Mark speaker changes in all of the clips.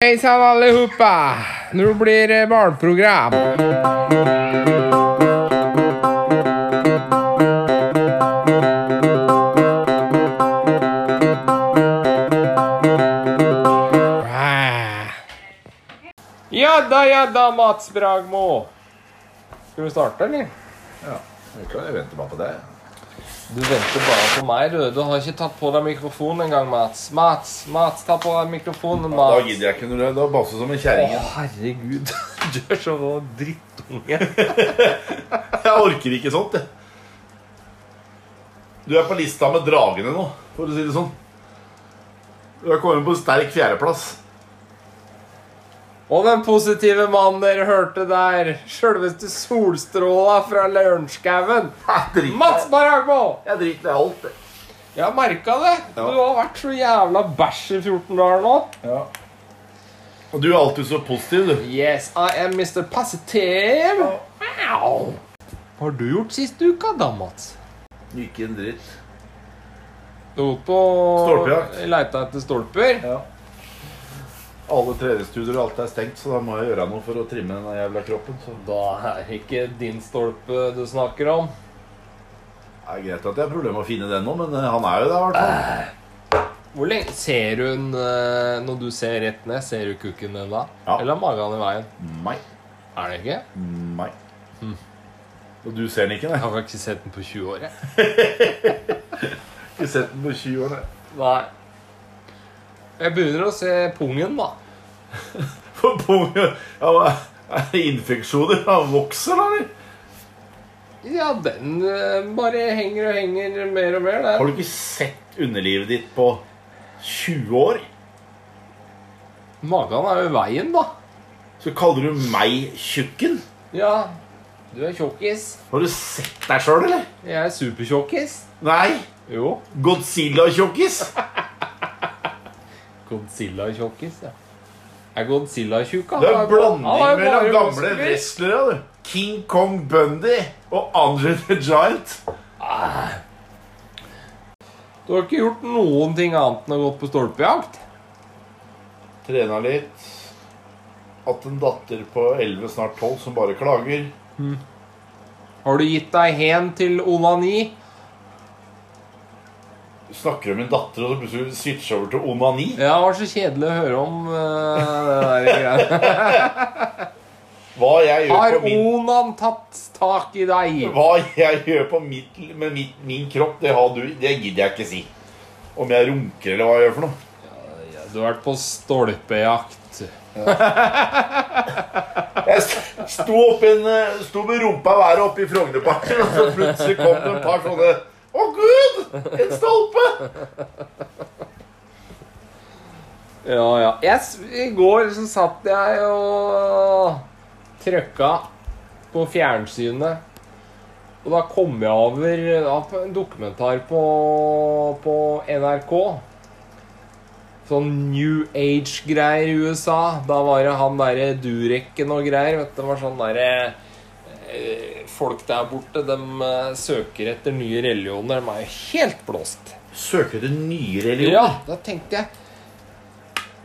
Speaker 1: Hei sann, alle hoppa! Nå blir det barneprogram. Ja da, ja da, Mats Bragmo. Skal vi starte, eller?
Speaker 2: Jeg kan- jeg venter bare på det.
Speaker 1: Du venter bare på meg, du. Du har ikke tatt på deg mikrofonen engang, Mats. Mats, Mats, ta på deg mikrofonen, Mats.
Speaker 2: Da gidder jeg ikke når du basser som en
Speaker 1: Å,
Speaker 2: kjerring.
Speaker 1: herregud. Du er så drittunge.
Speaker 2: Jeg orker ikke sånt, jeg. Du er på lista med dragene nå, for å si det sånn. Du er kommet på en sterk fjerdeplass.
Speaker 1: Og den positive mannen dere hørte der, sjølveste solstråla fra Lørenskauen,
Speaker 2: Jeg
Speaker 1: Mats
Speaker 2: driter
Speaker 1: Baragmo!
Speaker 2: jeg driter i alt, jeg.
Speaker 1: Jeg har merka det. Du
Speaker 2: Ja.
Speaker 1: har vært så jævla bæsj i 14 dager nå.
Speaker 2: Og du er alltid så positiv, du.
Speaker 1: Yes, I am Mr. Positive.
Speaker 2: Ja.
Speaker 1: Wow. Hva har du gjort siste uka da, Mats?
Speaker 2: Ikke en dritt.
Speaker 1: Du holdt på
Speaker 2: Stolpejakt.
Speaker 1: Leita etter stolper?
Speaker 2: Ja. Alle treningsstudioer og alt er stengt, så da må jeg gjøre noe for å trimme den jævla kroppen. Så
Speaker 1: Da er det ikke din stolpe du snakker om.
Speaker 2: det er greit at jeg har problemer med å finne den nå, men eh, han er jo der, i hvert fall.
Speaker 1: Hvor lenge ser hun eh, Når du ser rett ned, ser du kukken din da?
Speaker 2: Ja.
Speaker 1: Eller er magen i veien?
Speaker 2: Nei.
Speaker 1: Er det ikke?
Speaker 2: Nei. Mm. Og du ser den ikke, nei?
Speaker 1: Jeg har ikke sett den på 20 år, jeg.
Speaker 2: Ikke sett den på 20 år, nei.
Speaker 1: Nei. Jeg begynner å se pungen, da.
Speaker 2: For pungen ja, hva- er det Infeksjoner? Han vokser, da, eller?
Speaker 1: Ja, den eh, bare henger og henger mer og mer,
Speaker 2: Har
Speaker 1: den.
Speaker 2: du ikke sett underlivet ditt på 20 år?
Speaker 1: Magen er jo i veien, da.
Speaker 2: Så kaller du meg tjukken?
Speaker 1: Ja. Du er tjokkis.
Speaker 2: Har du sett deg sjøl, eller?
Speaker 1: Jeg er supertjokkis.
Speaker 2: Nei.
Speaker 1: Jo.
Speaker 2: Godzilla-tjokkis.
Speaker 1: Godzilla-tjokkis, ja. Er Godzilla-tjukk,
Speaker 2: Det er en blanding mellom
Speaker 1: med
Speaker 2: gamle wrestlere. du. King Kong Bundy og Andre the Giant.
Speaker 1: Du har ikke gjort noen ting annet enn å gå på stolpejakt?
Speaker 2: Trena litt. Hatt en datter på 11, snart 12, som bare klager.
Speaker 1: Har du gitt deg hen til onani?
Speaker 2: Du snakker om min datter, og så plutselig switcher over til onani.
Speaker 1: Ja, det var så kjedelig å høre om eh, det der greiene.
Speaker 2: Hva jeg gjør
Speaker 1: Har
Speaker 2: på min
Speaker 1: onan tatt tak i deg?
Speaker 2: Hva jeg gjør på mitt, med mitt, min kropp, det, har du, det gidder jeg ikke si. Om jeg runker eller hva jeg gjør for noe.
Speaker 1: Ja, Du har vært på stolpejakt.
Speaker 2: Jeg st- sto, opp en, eh, sto med rumpa i været oppe i Frognerparken, og så plutselig kom det et par sånne Å, gud! En stolpe!
Speaker 1: Ja, ja. Jeg, s- I går så satt jeg og trøkka på fjernsynet. Og da kom jeg over ja, på en dokumentar på, på NRK. Sånn New Age-greier i USA. Da var det han derre Durekken og greier. Vet du, det var sånn derre eh, Folk der borte, de eh, søker etter nye religioner. De er jo helt blåst.
Speaker 2: Søker etter nye religioner.
Speaker 1: Ja, da tenkte jeg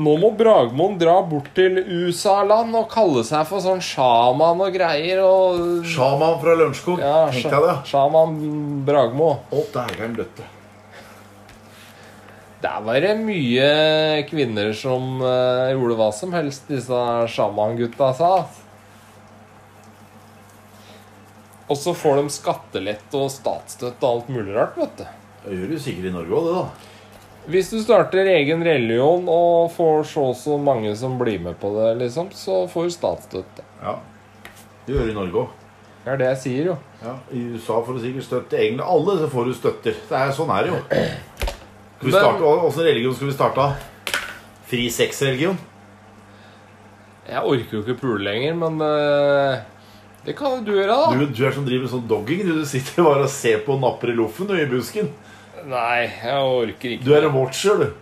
Speaker 1: Nå må Bragmoen dra bort til USA-land og kalle seg for sånn sjaman og greier og
Speaker 2: Sjaman fra Lørenskog.
Speaker 1: ja,
Speaker 2: Tenk
Speaker 1: sja-
Speaker 2: deg det.
Speaker 1: Sjaman Bragmo.
Speaker 2: Å, dægeren døtte.
Speaker 1: Der var det mye kvinner som eh, gjorde hva som helst, disse sjamangutta sa. Og så får de skattelette og statsstøtte og alt mulig rart, vet du.
Speaker 2: Det gjør du sikkert i Norge òg, det, da.
Speaker 1: Hvis du starter egen religion og får så og så mange som blir med på det, liksom, så får du statsstøtte.
Speaker 2: Ja. Det gjør du i Norge òg.
Speaker 1: Det er det jeg sier, jo.
Speaker 2: Ja, I USA får du sikkert støtte. Egentlig alle så får du støtter. Det er, sånn er det jo. Skal vi
Speaker 1: Men-
Speaker 2: starte, hva- Hvordan religion skal vi starte av? Fri sex-religion?
Speaker 1: Jeg orker jo ikke pule lenger, men eh, det kan jo du gjøre, da.
Speaker 2: Du, du er som driver sånn dogging. Du, du sitter bare og ser på og napper i loffen du, i busken.
Speaker 1: Nei, jeg orker ikke.
Speaker 2: Du er en watcher, du.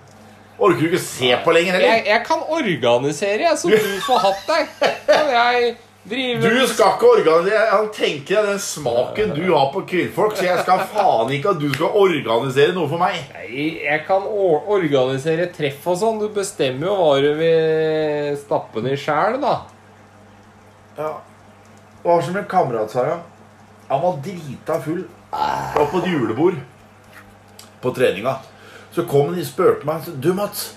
Speaker 2: Orker du ikke se på lenger
Speaker 1: jeg,
Speaker 2: heller?
Speaker 1: jeg kan organisere, jeg, så du får hatt deg. Kan jeg Drive
Speaker 2: Du skal ikke organisere Han tenker deg den smaken du har på kvinnfolk, så jeg skal faen ikke at du skal organisere noe for meg.
Speaker 1: Nei, jeg kan or organisere treff og sånn. Du bestemmer jo hva du vil stappe den i sjæl, da.
Speaker 2: Ja. Det var som en kamerat sa, ja. Han var drita full. Var på et julebord på treninga. Så kom han og spurte meg. så, Du, Mats,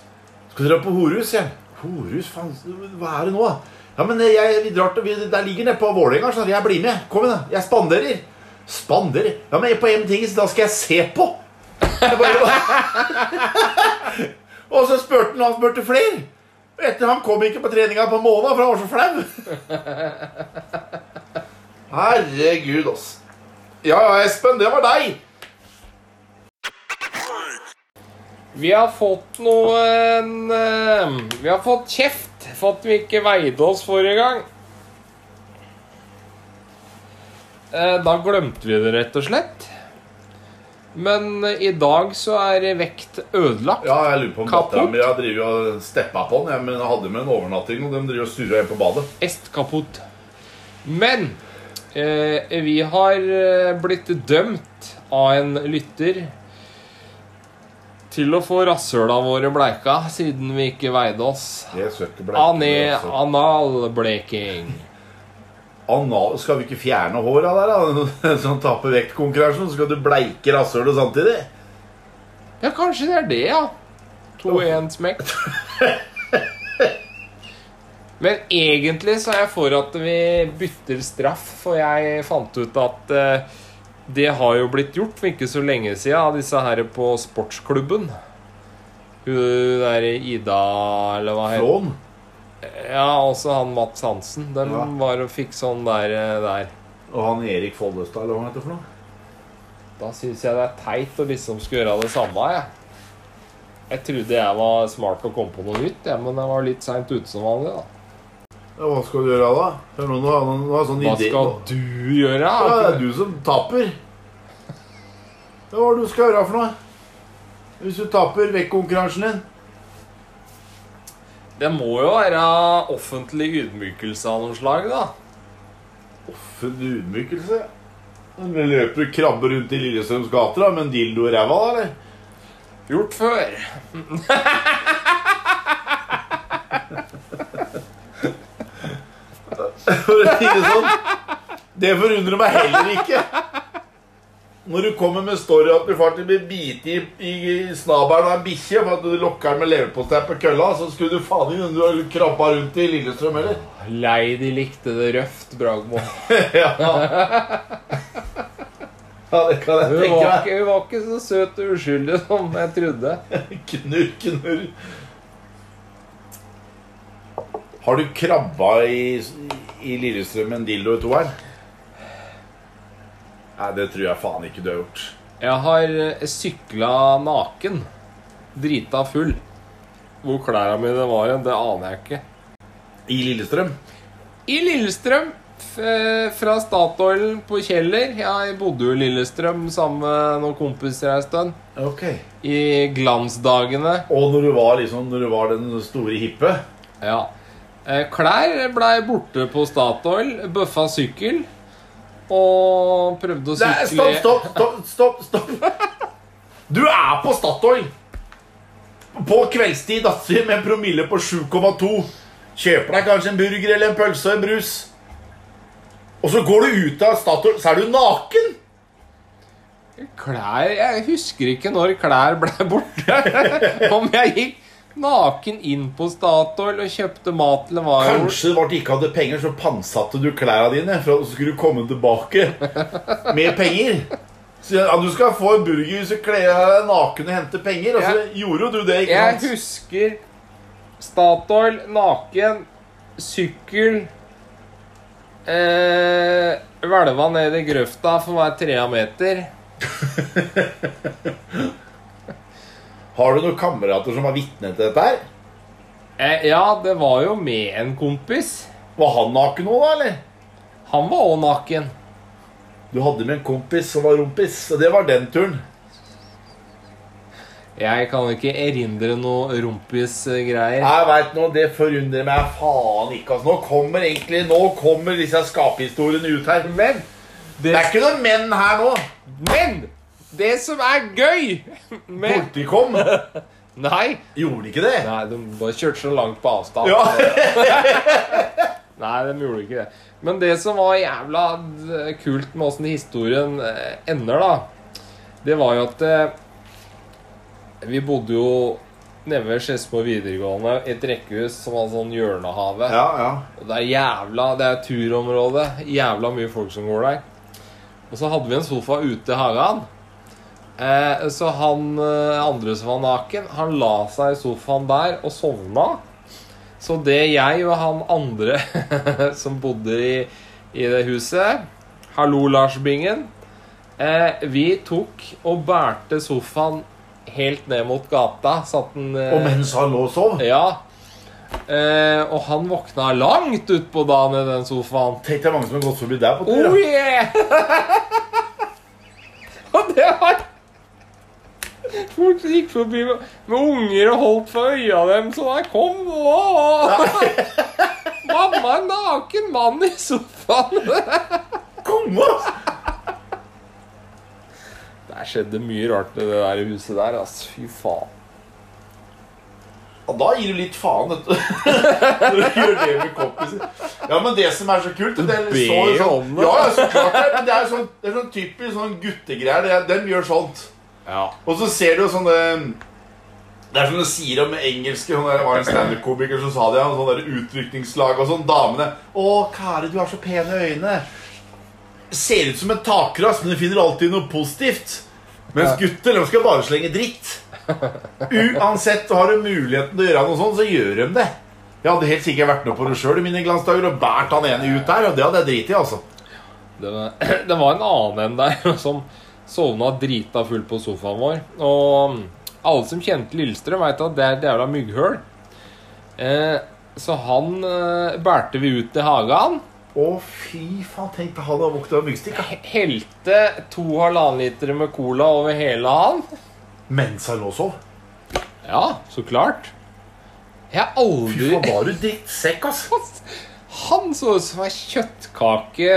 Speaker 2: skal dere på Horus? Jeg. Horus? Faen, hva er det nå? da? Ja, men jeg, vi drar til, vi, Der ligger nede på Vålerenga. sånn, Jeg blir med. Kom igjen, da. Jeg spanderer. Spanderer? Ja, men på én ting, så da skal jeg se på. Jeg bare, og så spurte han, han spurte flere. Etter han kom ikke på treninga på en måned, for han var så flau. Herregud, ass. Ja, ja, Espen, det var deg.
Speaker 1: Vi har fått noen eh, Vi har fått kjeft for at vi ikke veide oss forrige gang. Eh, Da glemte vi det rett og slett. Men eh, i dag så er vekt ødelagt.
Speaker 2: Ja, jeg lurer på om
Speaker 1: Kaputt.
Speaker 2: dattera mi har drevet og steppa på den. Jeg men, hadde med en overnatting, og de driver og surra hjem på badet.
Speaker 1: Est kaputt. Men eh, vi har eh, blitt dømt av en lytter til å få rasshøla våre bleika siden vi ikke veide oss.
Speaker 2: Det søkker ble
Speaker 1: Ani, analbleking.
Speaker 2: Anal, Skal vi ikke fjerne håra der, da? Sånn tape vektkonkurransen, så skal du bleike rasshølet samtidig?
Speaker 1: Ja, kanskje det er det, ja. To i én smekk. Men egentlig så er jeg for at vi bytter straff, for jeg fant ut at eh, det har jo blitt gjort for ikke så lenge siden av disse her på sportsklubben. Hun der Ida, eller hva heter
Speaker 2: Flån?
Speaker 1: Ja, også han Mats Hansen. De
Speaker 2: Ja.
Speaker 1: var og fikk sånn der, eh, der.
Speaker 2: Og han Erik Follestad, eller hva han heter for noe?
Speaker 1: Da syns jeg det er teit å liksom skulle gjøre det samme. Jeg. jeg trodde jeg var smart og kom på noe nytt, jeg, men jeg var litt seint ute som vanlig. da.
Speaker 2: Ja, hva skal du gjøre da? Hør nå, nå, nå, nå er sånn
Speaker 1: Hva
Speaker 2: idé-
Speaker 1: skal du gjøre?
Speaker 2: Ja, det er du som taper. Ja, Hva er det du skal gjøre for noe? Hvis du taper vektkonkurransen din?
Speaker 1: Det må jo være offentlig ydmykelse av noe slag, da.
Speaker 2: Offentlig ydmykelse? Men det Løper du krabber rundt i Lillestrøms gater da, med en dildo i ræva, da, eller?
Speaker 1: Gjort før.
Speaker 2: For å si det sånn. Det forundrer meg heller ikke. Når du kommer med story at du faktisk blir bitt i, i snabelen av en bikkje for at du lokker den med leverpostei på kølla, så skulle du faen ikke du har krabba rundt i Lillestrøm heller.
Speaker 1: Lei de likte det røft, Bragmo.
Speaker 2: Ja. ja, det kan jeg
Speaker 1: Hun var,
Speaker 2: tenke meg.
Speaker 1: ikke, hun var ikke så søt og uskyldig som jeg trodde.
Speaker 2: Knurr, knurr. Har du krabba i, i Lillestrøm med en dildo i toeren? Nei, det tror jeg faen ikke du har gjort.
Speaker 1: Jeg har sykla naken. Drita full. Hvor klærne mine var hen, det aner jeg ikke.
Speaker 2: I Lillestrøm?
Speaker 1: I Lillestrøm, f- eh, fra Statoil på Kjeller. Jeg bodde jo i Lillestrøm sammen med noen kompiser en stund.
Speaker 2: Ok.
Speaker 1: I glansdagene.
Speaker 2: Og når du var, liksom, når du var den store hippe?
Speaker 1: Ja. Eh, Klær blei borte på Statoil. Bøffa sykkel. Og prøvde å
Speaker 2: Nei,
Speaker 1: sykle
Speaker 2: stopp, stopp, stopp, stopp, stopp! Du er på Statoil! På kveldstid, altså, med en promille på 7,2. Kjøper deg kanskje en burger eller en pølse og en brus. Og så går du ut av Statoil, så er du naken!
Speaker 1: Klær Jeg husker ikke når klær blei borte. Om jeg gikk naken inn på Statoil og kjøpte mat eller hva jeg gjorde.
Speaker 2: Kanskje det var at du ikke hadde penger, så pantsatte du klærne dine for at du skulle komme tilbake med penger. Så ja, du skal få en burger hvis du kler deg naken og henter penger. Og så gjorde jo du det, ikke
Speaker 1: Jeg
Speaker 2: sant?
Speaker 1: husker Statoil, naken, sykkel eh, Hvelva ned i grøfta for hver trea meter.
Speaker 2: Har du noen kamerater som har vitne til dette her?
Speaker 1: Eh, ja, det var jo med en kompis.
Speaker 2: Var han naken nå, da, eller?
Speaker 1: Han var òg naken.
Speaker 2: Du hadde med en kompis som var rumpis, og det var den turen.
Speaker 1: Jeg kan ikke erindre noe eh, rumpis-greier.
Speaker 2: Jeg vet nå, Det forundrer meg faen ikke. altså. Nå kommer egentlig, nå kommer disse skaphistoriene ut her.
Speaker 1: Men
Speaker 2: Det
Speaker 1: det,
Speaker 2: er ikke noen menn her nå.
Speaker 1: men det som er gøy med
Speaker 2: Politiet kom.
Speaker 1: Nei,
Speaker 2: Gjorde de ikke det?
Speaker 1: nei de bare kjørte så langt på avstand.
Speaker 2: Ja.
Speaker 1: Nei, de gjorde ikke det. Men det som var jævla d- kult med åssen historien eh, ender, da, det var jo at eh, Vi bodde jo nede ved Skedsmo videregående, et rekkehus som var sånn hjørnehave.
Speaker 2: Ja, ja.
Speaker 1: Og det er jævla Det er turområde. Jævla mye folk som går der. Og så hadde vi en sofa ute i hagen. Eh, så han eh, andre som var naken, han la seg i sofaen der og sovna. Så det jeg og han andre som bodde i, i det huset Hallo, Lars Bingen. Eh, vi tok og bærte sofaen helt ned mot gata. Satt den eh,
Speaker 2: Og mens han lå og sov?
Speaker 1: ja. Eh, og han våkna langt utpå dagen i den sofaen.
Speaker 2: Tenk deg mange som har gått forbi der på tur.
Speaker 1: Oh
Speaker 2: da.
Speaker 1: yeah! og det var Folk som gikk forbi med, med unger og holdt for øya dem, så der kom Åh! Mamma, en naken mann i sofaen.
Speaker 2: Konge, ass!
Speaker 1: Der skjedde mye rart i det der huset der, altså. Fy faen.
Speaker 2: Ja, da gir du litt faen, vet du. Når du gjør det med kompiser. Ja, men det som er så kult det er så,
Speaker 1: ber jo om
Speaker 2: sånn,
Speaker 1: det.
Speaker 2: ja, ja, så klart det. Men det er sånn, det er sånn typisk sånn guttegreier. det er- De gjør sånt.
Speaker 1: Ja.
Speaker 2: Og så ser du jo sånne Det er som du sier om engelske sånn der, Det var en standup-komiker som sa det, ja, sånn der utrykningslag og sånn. Damene 'Å, Kare, du har så pene øyne.' Ser ut som en takras, men du finner alltid noe positivt. Mens gutter de skal bare slenge dritt. Uansett har du muligheten til å gjøre noe sånt, så gjør de det. Jeg hadde helt sikkert vært med på det sjøl i mine glansdager og båret han ene ut der. Og det hadde jeg driti i, altså.
Speaker 1: Det var, det var en annen enn der som sovna drita full på sofaen vår. Og mm, alle som kjente Lillestrøm, veit at det er et jævla mygghøl. Eh, så han eh, bærte vi ut i hagen.
Speaker 2: Å, fy faen. Tenk deg han har våkna av myggstikk ja.
Speaker 1: he- Helte to halvannen liter med cola over hele han.
Speaker 2: mens han lå og sov.
Speaker 1: Ja, så klart. Jeg har
Speaker 2: Fy faen,
Speaker 1: aldri
Speaker 2: var du drittsekk, ass!
Speaker 1: Han så ut som ei kjøttkake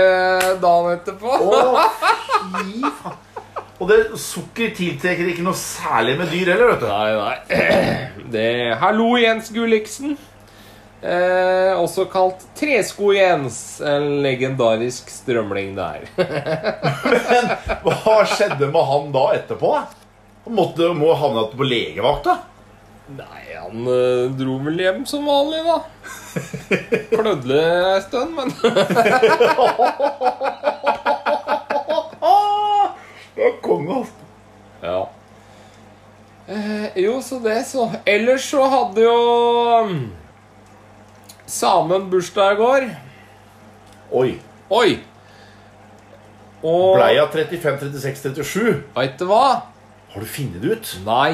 Speaker 1: dagen etterpå.
Speaker 2: Å, fy faen. Og det sukker tiltrekker ikke noe særlig med dyr heller, vet du.
Speaker 1: Nei, nei. Det, hallo, Jens Gulliksen. Eh, også kalt Tresko-Jens. En legendarisk strømling der.
Speaker 2: Men hva skjedde med han da etterpå? Han måtte, må ha havnet på legevakta.
Speaker 1: Nei, han eh, dro vel hjem som vanlig, da. Klødde ei stund, men
Speaker 2: Ah, det er konge, altså.
Speaker 1: Ja. Eh, jo, så det, så. Ellers så hadde jo mm, Samen bursdag i går.
Speaker 2: Oi.
Speaker 1: Oi! Og
Speaker 2: Bleia 35, 36, 37.
Speaker 1: Veit du hva?
Speaker 2: Har du funnet det ut?
Speaker 1: Nei.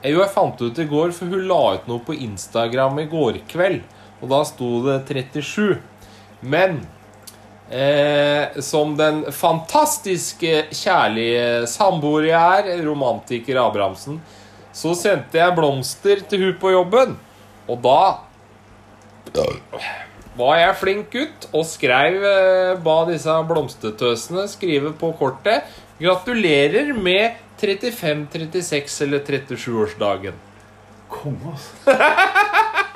Speaker 1: Eh, Jo, jeg fant det ut i går, for hun la ut noe på Instagram i går kveld. Og da sto det 37. Men eh, som den fantastiske, kjærlige samboer jeg er, romantiker Abrahamsen, så sendte jeg blomster til hun på jobben. Og da var jeg flink gutt og skrev, eh, ba disse blomstertøsene skrive på kortet Gratulerer med 35, 36 eller 37-årsdagen.
Speaker 2: Konge, altså.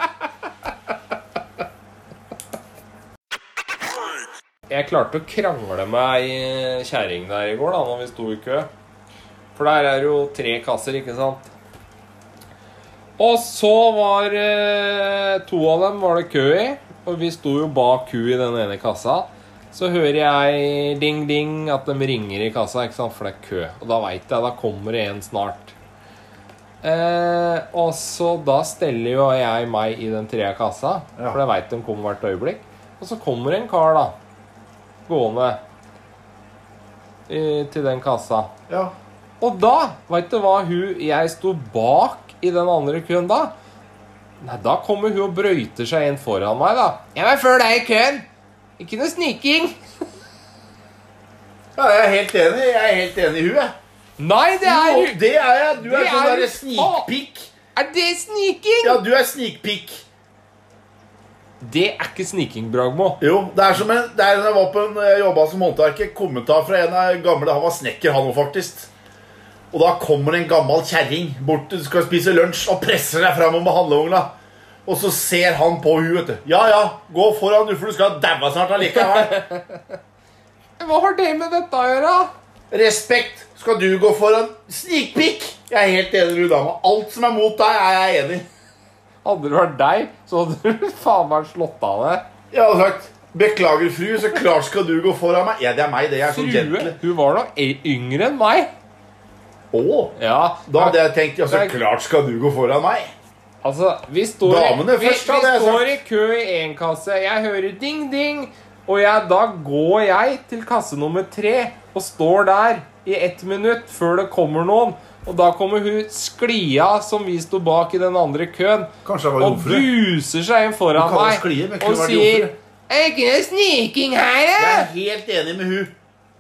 Speaker 1: Jeg klarte å krangle med ei eh, kjerring der i går, da når vi sto i kø. For der er det jo tre kasser, ikke sant? Og så var eh, to av dem var det kø i, og vi sto jo bak ku i den ene kassa. Så hører jeg ding-ding at de ringer i kassa, ikke sant? for det er kø. Og da veit jeg, da kommer det en snart. Eh, og så da steller jo jeg meg i den tredje kassa,
Speaker 2: Ja.
Speaker 1: for jeg veit de kommer hvert øyeblikk. Og så kommer en kar, da gående eh, til den kassa.
Speaker 2: Ja.
Speaker 1: Og da, veit du hva hun jeg sto bak i den andre køen da? Nei, da kommer hun og brøyter seg inn foran meg, da. Jeg var før deg i køen! Ikke noe sniking!
Speaker 2: ja, jeg er helt enig. Jeg er helt enig i huet.
Speaker 1: Nei, det
Speaker 2: Jo,
Speaker 1: er
Speaker 2: det er jeg! Du er
Speaker 1: Det
Speaker 2: sånn
Speaker 1: er-
Speaker 2: derre snikpikk.
Speaker 1: Er det sniking?
Speaker 2: Ja, du er snikpikk.
Speaker 1: Det er ikke sniking, Bragmo.
Speaker 2: Jo, det er som en, det er, jeg var på en jeg jobba som håndverker. Kommentar fra en av gamle Han var snekker, han òg, faktisk. Og da kommer en gammel kjerring bort du skal spise lunsj og presser deg fram med handlevogna. Og så ser han på hun, vet du. Ja ja, gå foran du, for du skal daue snart allikevel.
Speaker 1: Hva har det med dette å gjøre?
Speaker 2: Respekt. Skal du gå foran? Snikpikk! Jeg er helt enig med hun dama. Alt som er mot deg, er jeg enig i.
Speaker 1: Hadde det vært deg, så hadde du faen meg slått av det.
Speaker 2: Jeg hadde sagt Beklager, fru, så klart skal du gå foran meg. Ja, det er meg, det. Jeg er så
Speaker 1: Frue,
Speaker 2: gentle.
Speaker 1: hun var nok e- yngre enn meg.
Speaker 2: Å,
Speaker 1: Ja,
Speaker 2: Da hadde jeg tenkt ja, så
Speaker 1: Nei.
Speaker 2: klart skal du gå foran meg.
Speaker 1: Altså, vi står,
Speaker 2: Damene
Speaker 1: vi,
Speaker 2: først, hadde
Speaker 1: vi
Speaker 2: jeg
Speaker 1: står i kø i én kasse. Jeg hører ding-ding, og jeg, da går jeg til kasse nummer tre og står der i ett minutt før det kommer noen. Og da kommer hun sklia som vi sto bak i den andre køen,
Speaker 2: Kanskje jeg var
Speaker 1: og
Speaker 2: jomfru.
Speaker 1: buser seg inn
Speaker 2: Du
Speaker 1: foran
Speaker 2: kaller
Speaker 1: meg
Speaker 2: det sklie, men kunne
Speaker 1: og
Speaker 2: vært
Speaker 1: sier
Speaker 2: jomfru.
Speaker 1: Er det ikke noe sniking her,
Speaker 2: Jeg er
Speaker 1: eh?
Speaker 2: helt enig med hun.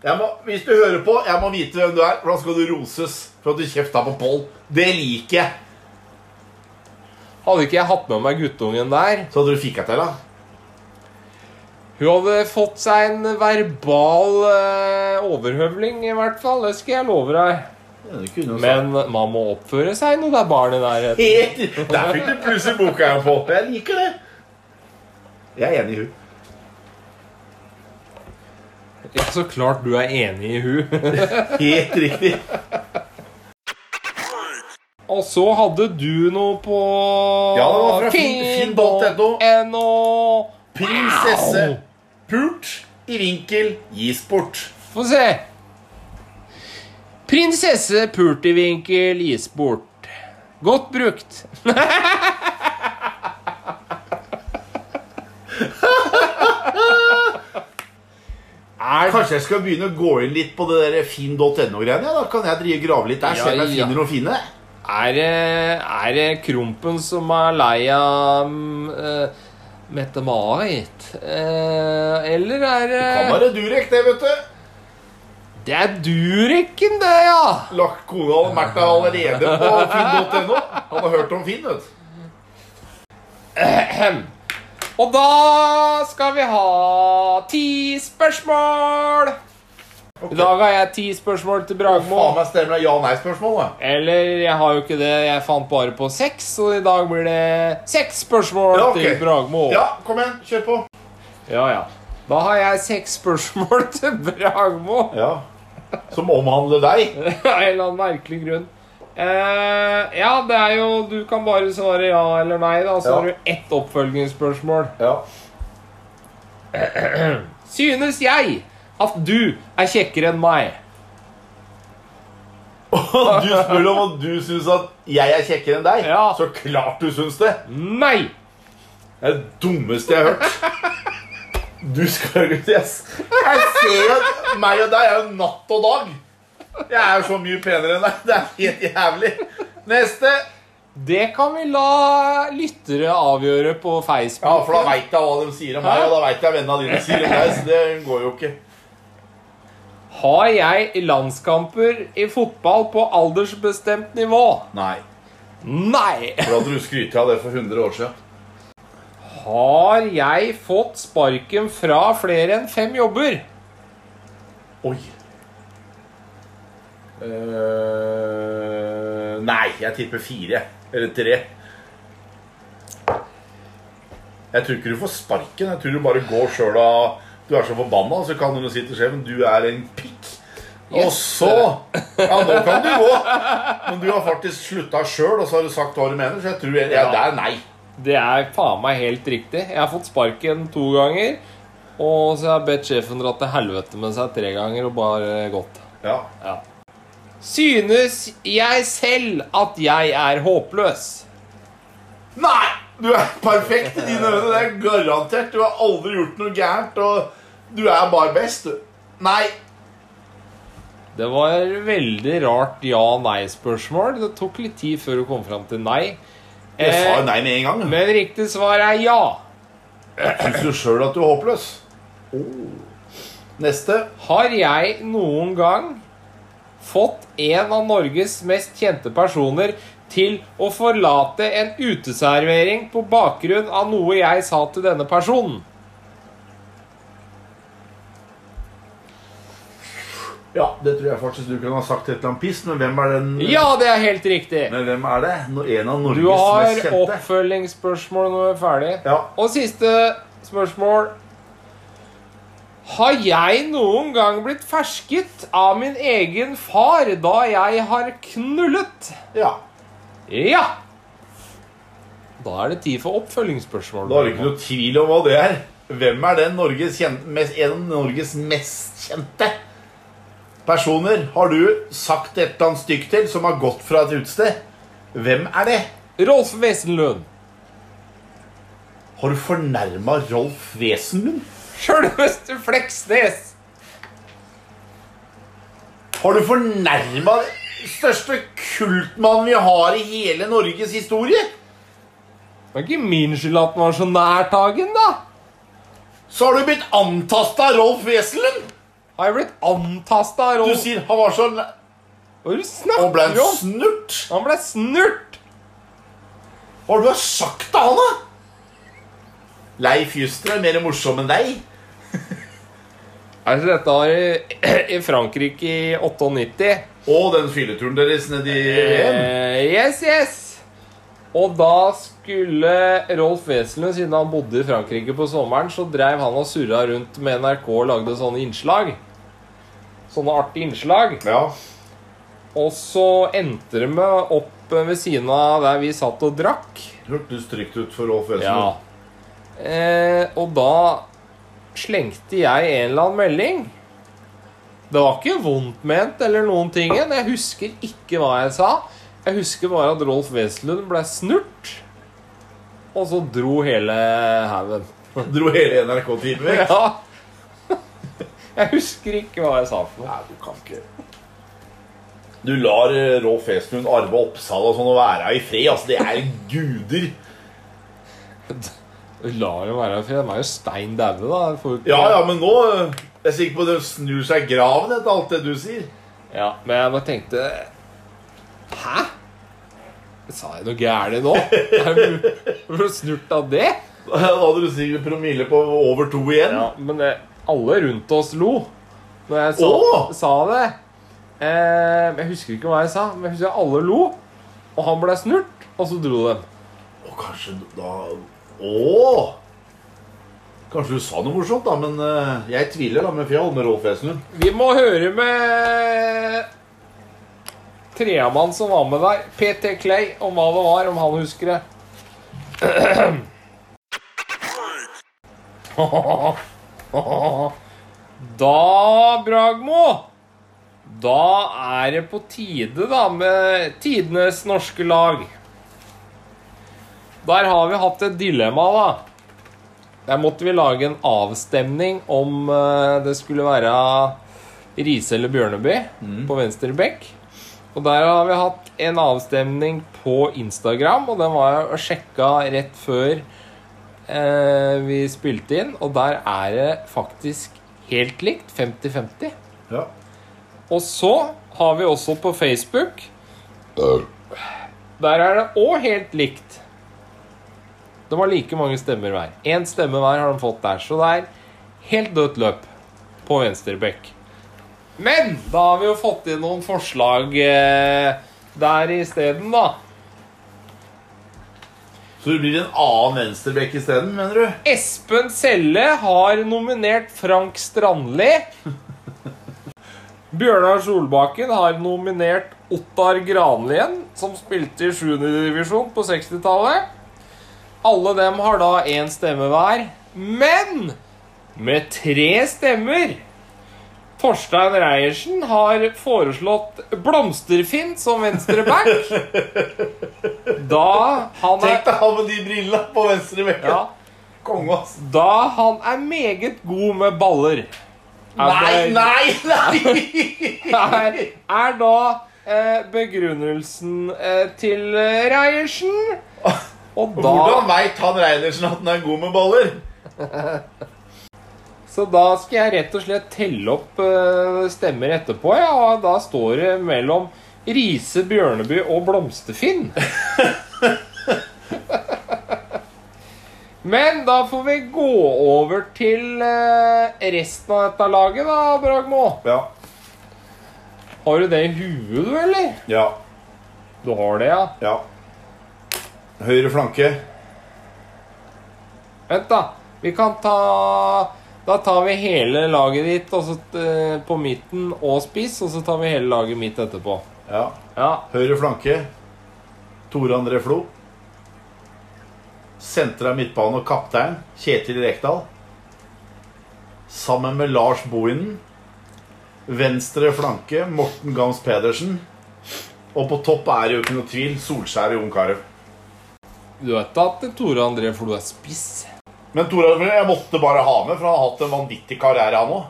Speaker 2: Jeg må, hvis du hører på, jeg må vite hvem du er, for da skal du roses for at du kjefta på Pål. Det liker jeg.
Speaker 1: Hadde ikke jeg hatt med meg guttungen der,
Speaker 2: Så hadde du fikk deg til, da.
Speaker 1: Hun hadde fått seg en verbal eh, overhøvling, i hvert fall. Det skal jeg love deg.
Speaker 2: Ja, du kunne jo sagt-
Speaker 1: Men man må oppføre seg når det er barn i nærheten.
Speaker 2: Helt- Der fikk du plutselig boka jeg på. Jeg liker det. Jeg er enig i hun.
Speaker 1: Ja, så klart du er enig i hun.
Speaker 2: Helt riktig.
Speaker 1: Og så hadde du noe på
Speaker 2: Ja, det var fra finn- finn.no.
Speaker 1: .no.
Speaker 2: Prinsesse.
Speaker 1: Au.
Speaker 2: Pult i vinkel. Gis bort.
Speaker 1: Få se. Prinsesse Purtivinkel gis bort. Godt brukt. er
Speaker 2: Kanskje jeg skal begynne å gå inn litt på det der finn.no-greiene? ja, Da kan jeg drive grave litt der, se om jeg
Speaker 1: Ja, ja.
Speaker 2: finner noe fine.
Speaker 1: Er det, er det Krompen som er lei av uh, Mette-Marit? Eh, eller er det
Speaker 2: Kan være Durek, det, vet du.
Speaker 1: Det er Durekken, det, ja!
Speaker 2: Lagt kona og Märtha allerede på finn.no. Han har hørt om Finn, vet du.
Speaker 1: Og da skal vi ha ti spørsmål! I dag har jeg ti spørsmål til Bragmo.
Speaker 2: Faen meg stemmer det ja-nei-spørsmål, da.
Speaker 1: Eller jeg har jo ikke det. Jeg fant bare på seks, så i dag blir det seks spørsmål
Speaker 2: Ja, ok.
Speaker 1: til Bragmo.
Speaker 2: Ja, kom igjen. Kjør på.
Speaker 1: ja, ja. Da har jeg seks spørsmål til Bragmo.
Speaker 2: Ja. Som omhandler deg.
Speaker 1: Av en eller annen merkelig grunn. Eh, ja, det er jo Du kan bare svare ja eller nei, da. Så
Speaker 2: Ja.
Speaker 1: har du ett oppfølgingsspørsmål.
Speaker 2: Ja.
Speaker 1: Synes jeg at du er kjekkere enn meg?
Speaker 2: Du spør om at du syns at jeg er kjekkere enn deg.
Speaker 1: Ja.
Speaker 2: Så klart du syns det.
Speaker 1: Nei!
Speaker 2: Det er det dummeste jeg har hørt. Du skal ut, yes. Jeg ser at meg og deg er jo natt og dag. Jeg er jo så mye penere enn deg. Det er helt jævlig. Neste.
Speaker 1: Det kan vi la lyttere avgjøre på
Speaker 2: Ja,
Speaker 1: Facebook.
Speaker 2: for da veit jeg hva de sier om meg, og da veit jeg vennene dine sier om deg. Så det går jo ikke.
Speaker 1: Har jeg landskamper i fotball på aldersbestemt nivå?
Speaker 2: Nei.
Speaker 1: Nei!
Speaker 2: For da hadde du skrytt av det for 100 år siden.
Speaker 1: Har jeg fått sparken fra flere enn fem jobber?
Speaker 2: Oi. Eh, nei, jeg tipper fire. Eller tre. Jeg tror ikke du får sparken. Jeg tror du bare går sjøl av Du er så forbanna, så kan du jo si til sjefen du er en pikk. Og
Speaker 1: Yes.
Speaker 2: så Ja, nå kan du gå. Men du har faktisk slutta sjøl, og så har du sagt hva du mener, så jeg tror jeg, ja, det er nei.
Speaker 1: Det er faen meg helt riktig. Jeg har fått sparken to ganger. Og så har jeg bedt sjefen dra til helvete med seg tre ganger og bare gått.
Speaker 2: Ja.
Speaker 1: Ja. Synes jeg selv at jeg er håpløs?
Speaker 2: Nei! Du er perfekt i dine øyne. Det er garantert. Du har aldri gjort noe gærent, og du er bare best, du. Nei.
Speaker 1: Det var veldig rart ja-nei-spørsmål. Det tok litt tid før du kom fram til nei.
Speaker 2: Jeg sa jo
Speaker 1: Eh,
Speaker 2: nei med en gang.
Speaker 1: men riktig svar er ja.
Speaker 2: Syns du sjøl at du er håpløs? Oh. Neste.
Speaker 1: Har jeg noen gang fått en av Norges mest kjente personer til å forlate en uteservering på bakgrunn av noe jeg sa til denne personen.
Speaker 2: Ja, det tror jeg faktisk du kunne ha sagt et eller annet piss, men hvem er den
Speaker 1: Ja, det er helt riktig!
Speaker 2: Mm. Men hvem er det? No- En av Norges
Speaker 1: Du har
Speaker 2: mest kjente?
Speaker 1: oppfølgingsspørsmål når vi er ferdig.
Speaker 2: Ja.
Speaker 1: Og siste spørsmål. Har jeg noen gang blitt fersket av min egen far da jeg har knullet?
Speaker 2: ja.
Speaker 1: Ja! Da er det tid for oppfølgingsspørsmål.
Speaker 2: Da er det ikke noe tvil om hva det er. Hvem er den Norges kjente, mest, en av Norges mest kjente personer? Har du sagt et eller annet stygt til som har gått fra et utested? Hvem er det?
Speaker 1: Rolf Wesenlund.
Speaker 2: Har du fornærma Rolf Wesenlund?
Speaker 1: Sjølveste Fleksnes.
Speaker 2: Har du fornærma største kultmannen vi har i hele Norges historie?
Speaker 1: Det var ikke min skyld at den var så nærtagen, da.
Speaker 2: Så har du blitt antasta av Rolf Wesenlund!
Speaker 1: Har jeg blitt antasta av
Speaker 2: Du
Speaker 1: Rolf?
Speaker 2: sier han var sånn
Speaker 1: Hva er det du
Speaker 2: og ble
Speaker 1: snakker
Speaker 2: en
Speaker 1: om?
Speaker 2: snurt.
Speaker 1: Han ble snurt.
Speaker 2: Hva har du sagt til han, da? Leif Juster er mer morsom enn deg.
Speaker 1: Altså, dette var i, i Frankrike i 98.
Speaker 2: Og den fylleturen deres nedi VM.
Speaker 1: Eh, yes, yes! Og da skulle Rolf Wesenlund, siden han bodde i Frankrike på sommeren, så dreiv han og surra rundt med NRK og lagde sånne innslag. Sånne artige innslag.
Speaker 2: Ja.
Speaker 1: Og så endte det med opp ved siden av der vi satt og drakk.
Speaker 2: Hørtes trygt ut for Rolf Wesenlund.
Speaker 1: Ja. Eh, og da slengte jeg en eller annen melding. Det var ikke vondt ment eller noen ting. Jeg husker ikke hva jeg sa. Jeg husker bare at Rolf Wesenlund ble snurt. Og så dro hele haugen.
Speaker 2: Dro hele NRK-teamet vekk.
Speaker 1: Ja. Jeg husker ikke hva jeg sa for noe.
Speaker 2: Nei, du kan ikke Du lar eh, Rolf Wesenlund arve Oppsal og sånn og være i fred. Altså, det er guder.
Speaker 1: La det være, for de er jo stein daue, da. Jeg får jo ikke-
Speaker 2: Ja, ja, men nå eh, Jeg er sikker på at det snur seg i graven etter alt det du sier.
Speaker 1: Ja, men jeg bare tenkte Hæ? Sa jeg noe gærent nå? Er du- Er du snurt av det?
Speaker 2: Da hadde du sikkert promille på over to igjen.
Speaker 1: Ja, men det, alle rundt oss lo når jeg sa,
Speaker 2: Åh!
Speaker 1: sa det. Eh, jeg husker ikke hva jeg sa, men jeg husker at alle lo. Og han ble snurt, og så dro de.
Speaker 2: Og kanskje da Åh! Kanskje du sa noe morsomt, da, men eh, jeg tviler, da, men for jeg holder med Rolf Wesenlund.
Speaker 1: Vi må høre med treamann som var med der, PT Clay, om hva det var, om han husker det. Da, Bragmo Da er det på tide, da, med tidenes norske lag. Der har vi hatt et dilemma, da. Der måtte vi lage en avstemning om eh, det skulle være Riise eller Bjørneby på venstre bekk. Og der har vi hatt en avstemning på Instagram, og den var jeg og sjekka rett før eh, vi spilte inn, og der er det faktisk helt likt. 50-50.
Speaker 2: Ja.
Speaker 1: Og så har vi også på Facebook Der er det òg helt likt. De har like mange stemmer hver. Én stemme hver har de fått der. Så det er helt dødt løp på venstreback. Men da har vi jo fått inn noen forslag eh, der isteden, da.
Speaker 2: Så det blir en annen venstrebekk isteden, mener du?
Speaker 1: Espen Selle har nominert Frank Strandli. Bjørnar Solbakken har nominert Ottar Granlien, som spilte i 7. divisjon på 60-tallet. Alle dem har da én stemme hver, men med tre stemmer. Torstein Reiersen har foreslått Blomsterfinn som venstreback. Da han
Speaker 2: Tenk
Speaker 1: er
Speaker 2: deg han med de brillene på venstrebekken!
Speaker 1: ja,
Speaker 2: Konge, ass.
Speaker 1: da han er meget god med baller.
Speaker 2: Nei,
Speaker 1: det-
Speaker 2: nei, nei!
Speaker 1: Er, er da eh, begrunnelsen eh, til eh, Reiersen. Og da
Speaker 2: Hvordan veit han Reinersen at han er god med baller?
Speaker 1: Så da skal jeg rett og slett telle opp eh, stemmer etterpå, ja, og da står det mellom Riise, Bjørneby og Blomsterfinn. Men da får vi gå over til eh, resten av dette laget, da, Bragmo.
Speaker 2: Ja.
Speaker 1: Har du det i huet, du, eller?
Speaker 2: Ja.
Speaker 1: Du har det, ja?
Speaker 2: ja. Høyre flanke.
Speaker 1: Vent, da. Vi kan ta Da tar vi hele laget ditt og så, eh, på midten og spiss, og så tar vi hele laget mitt etterpå.
Speaker 2: Ja.
Speaker 1: Ja.
Speaker 2: Høyre flanke. Tore André Flo. Sentra midtbane og kaptein Kjetil Rekdal. Sammen med Lars Bohinen. Venstre flanke Morten Gams Pedersen. Og på topp er det jo ikke noe tvil Solskjær og Jon Carew.
Speaker 1: Du vet at Tore André Flo er spiss?
Speaker 2: Men Tore, André, jeg måtte bare ha med, for han har hatt en vanvittig karriere, han òg.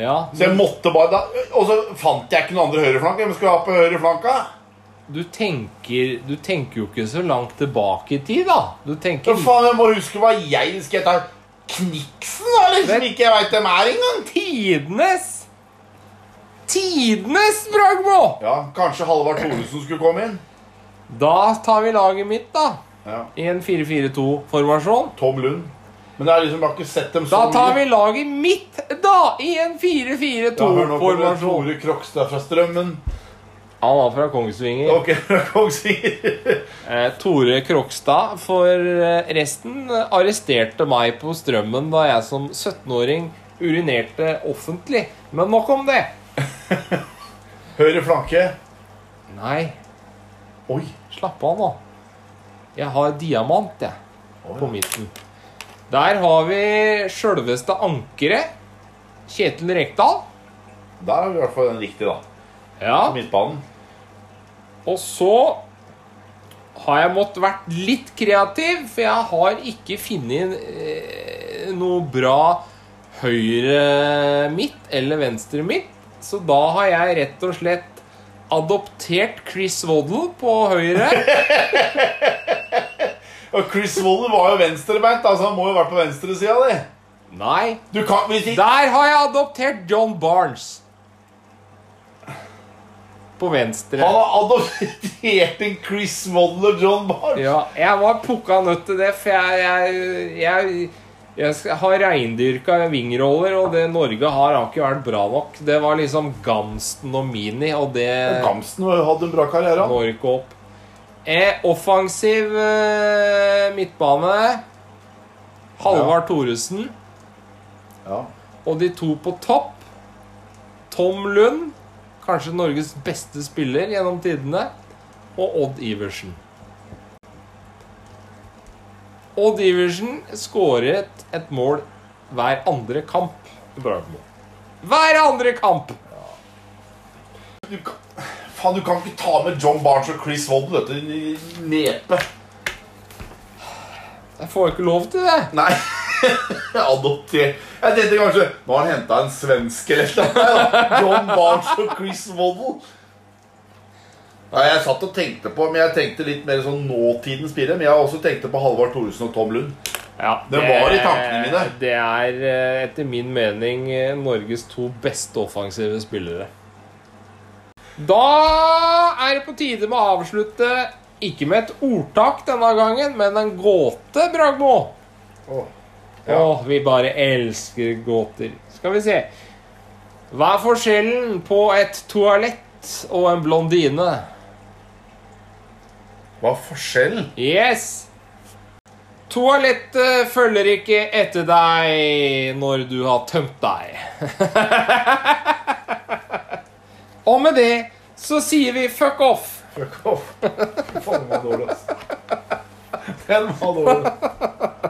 Speaker 1: Ja.
Speaker 2: Så jeg måtte bare da, Og så fant jeg ikke noen andre høyreflanke. Hvem skulle jeg ha på høyreflanka?
Speaker 1: Du tenker, du tenker jo ikke så langt tilbake i tid, da. Du tenker
Speaker 2: Ja, faen, jeg må huske hva jeg skal jeg ta Kniksen, da? Liksom ikke jeg veit hvem er engang.
Speaker 1: Tidenes! Tidenes, Bragmo!
Speaker 2: Ja, kanskje Halvard Thoresen skulle komme inn.
Speaker 1: Da tar vi laget mitt, da.
Speaker 2: Ja.
Speaker 1: I en 4-4-2-formasjon.
Speaker 2: Tom Lund. Men jeg har liksom bare ikke sett dem så
Speaker 1: Da tar vi laget mitt, da! I en 4-4-2-formasjon.
Speaker 2: Tore Krokstad fra Strømmen.
Speaker 1: Han var fra Kongsvinger.
Speaker 2: Ok, Kongsvinger.
Speaker 1: Eh, Tore Krokstad for eh, resten eh, arresterte meg på Strømmen da jeg som 17-åring urinerte offentlig. Men nok om det.
Speaker 2: Høyre flanke.
Speaker 1: Nei,
Speaker 2: Oi.
Speaker 1: slapp av nå. Jeg har diamant, jeg, på
Speaker 2: Oi.
Speaker 1: midten. Der har vi sjølveste ankeret. Kjetil Rekdal.
Speaker 2: Der er vi i hvert fall den riktige, da.
Speaker 1: Ja.
Speaker 2: På midtbanen.
Speaker 1: Og så har jeg måttet vært litt kreativ, for jeg har ikke funnet eh, noe bra høyre midt eller venstre midt. Så da har jeg rett og slett adoptert Chris Waddle på høyre.
Speaker 2: Og Chris Woller var jo venstrebeint, altså han må jo ha vært på venstresida, det.
Speaker 1: Nei,
Speaker 2: Du kan hvis ikke
Speaker 1: der har jeg adoptert John Barnes. På venstre.
Speaker 2: Han har adoptert en Chris Waddle og John Barnes.
Speaker 1: Ja, jeg var pukka nødt til det, for jeg, jeg, jeg, jeg skal- har reindyrka vingroller, og det Norge har, har ikke vært bra nok. Det var liksom Gamsten og Mini, og det
Speaker 2: Gamsten hadde en bra karriere. han.
Speaker 1: når ikke opp. Eh, offensiv eh, midtbane. Halvard Thoresen.
Speaker 2: Ja.
Speaker 1: Og de to på topp. Tom Lund, kanskje Norges beste spiller gjennom tidene. Og Odd Iversen. Odd Iversen skåret et mål hver andre kamp. Hver andre kamp!
Speaker 2: Du kan, faen, du kan ikke ta med John Barnes og Chris Waddle, dette din nepe.
Speaker 1: Jeg får ikke lov til det.
Speaker 2: Nei. Adoptert. Jeg tenkte kanskje Nå har han henta en svenske eller noe. da. John Barnes og Chris Waddle. Nei, Jeg satt og tenkte på Men jeg tenkte litt mer sånn nåtidens spillere. Men jeg også tenkte på Halvard Thoresen og Tom Lund. det var i tankene mine.
Speaker 1: Det er eh, etter min mening eh, Norges to beste offensive spillere. Da er det på tide med å avslutte, ikke med et ordtak denne gangen, men en gåte, Bragmo.
Speaker 2: Ja.
Speaker 1: Åh, vi bare elsker gåter. Skal vi se. Hva er forskjellen på et toalett og en blondine?
Speaker 2: Hva er forskjellen?
Speaker 1: Yes! Toalettet følger ikke etter deg når du har tømt deg. Og med det så sier vi fuck off.
Speaker 2: Fuck off. Faen, den var dårlig, ass. Den var dårlig.